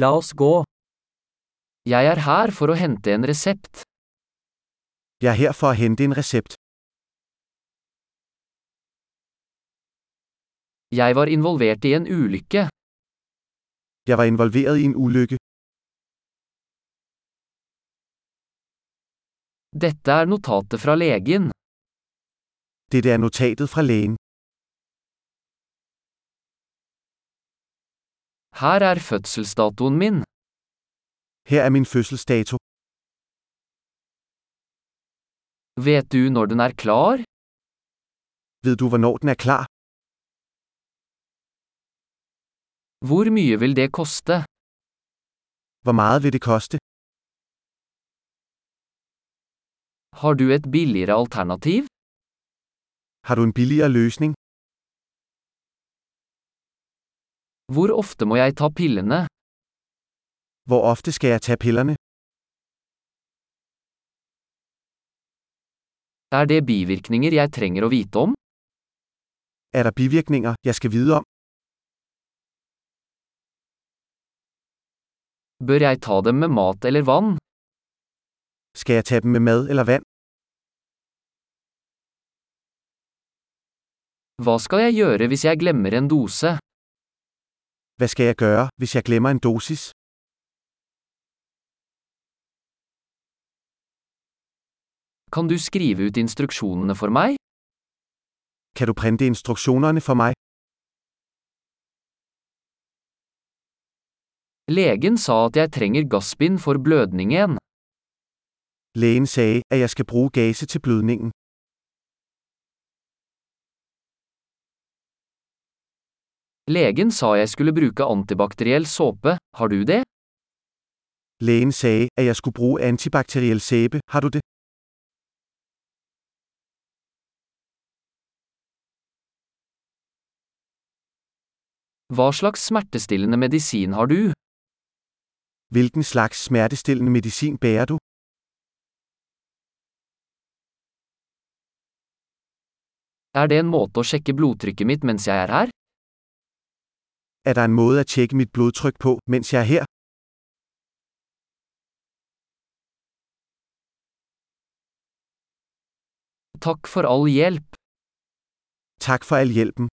La oss gå. Jeg er her for å hente en resept. Jeg er her for at hente en recept. Jeg var involvert i en ulykke. Jeg var involveret i en ulykke. Dette er notatet fra legen. Dette er notatet fra lægen. Her er fødselsdatoen min. Her er min fødselsdato. Vet du når den er klar? Ved du hvornår den er klar? Hvor mye vil det koste? Hvor meget vil det koste? Har du et billigere alternativ? Har du en billigere løsning? Hvor ofte må jeg ta pillene? Hvor ofte skal jeg tage pillerne? Er det bivirkninger jeg trenger å vite om? Er der bivirkninger, jeg skal vide om? Bør jeg ta dem med mat eller vann? Skal jeg tage dem med mad eller vand? Hva skal jeg gjøre hvis jeg glemmer en dose? Hvad skal jeg gøre, hvis jeg glemmer en dosis? Kan du skrive ut instruksjonene for meg? Kan du printe instruktionerne for mig? Legen sa at jeg trenger gassbind for blødningen. Lægen sagde, at jeg skal bruge gase til blødningen. Legen sa jeg skulle bruke antibakteriell såpe, har du det? Lægen sagde, at jeg skulle bruge antibakteriel sæbe, har du det? Hva slags smertestillende medisin har du? Hvilken slags smertestillende medicin bærer du? Er det en måte å sjekke blodtrykket mitt mens jeg er her? Er der en måde at tjekke mit blodtryk på, mens jeg er her? Takk for all hjelp. Tak for al hjælpen.